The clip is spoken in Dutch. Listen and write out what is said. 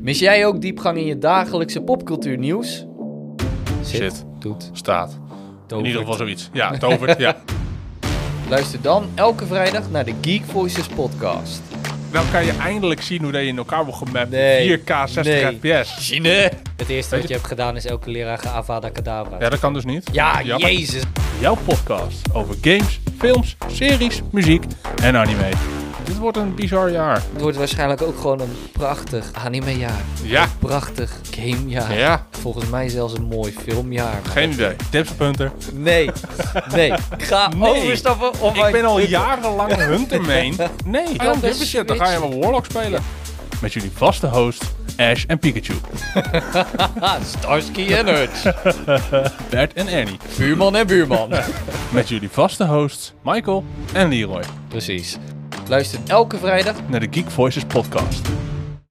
Mis jij ook diepgang in je dagelijkse popcultuurnieuws? Zit. Doet. Staat. In Tovert. ieder geval zoiets. Ja, tovert. ja. Luister dan elke vrijdag naar de Geek Voices podcast. Dan kan je eindelijk zien hoe dat je in elkaar wordt gemapt. Nee. 4K, 60 Nee. fps. Chine! Het eerste wat je hebt gedaan is elke leraar geavada kedavra. Ja, dat kan dus niet. Ja, Jammer. jezus. Jouw podcast over games, films, series, muziek en anime. Dit wordt een bizar jaar. Het wordt waarschijnlijk ook gewoon een prachtig animejaar. Ja. Prachtig gamejaar. Ja. Volgens mij zelfs een mooi filmjaar. Geen idee. Tips op Hunter. Nee, nee. Ga Nee. overstappen op Ik ben al jarenlang Huntermeen. Nee, Kan dan de shit. Dan ga je maar Warlock spelen. Met jullie vaste host, Ash en Pikachu. Ah, Starsky en Hutch. Bert en Ernie. Buurman en buurman. Met jullie vaste hosts, Michael en Leroy. Precies. Luister elke vrijdag Naar de Geek Voices podcast.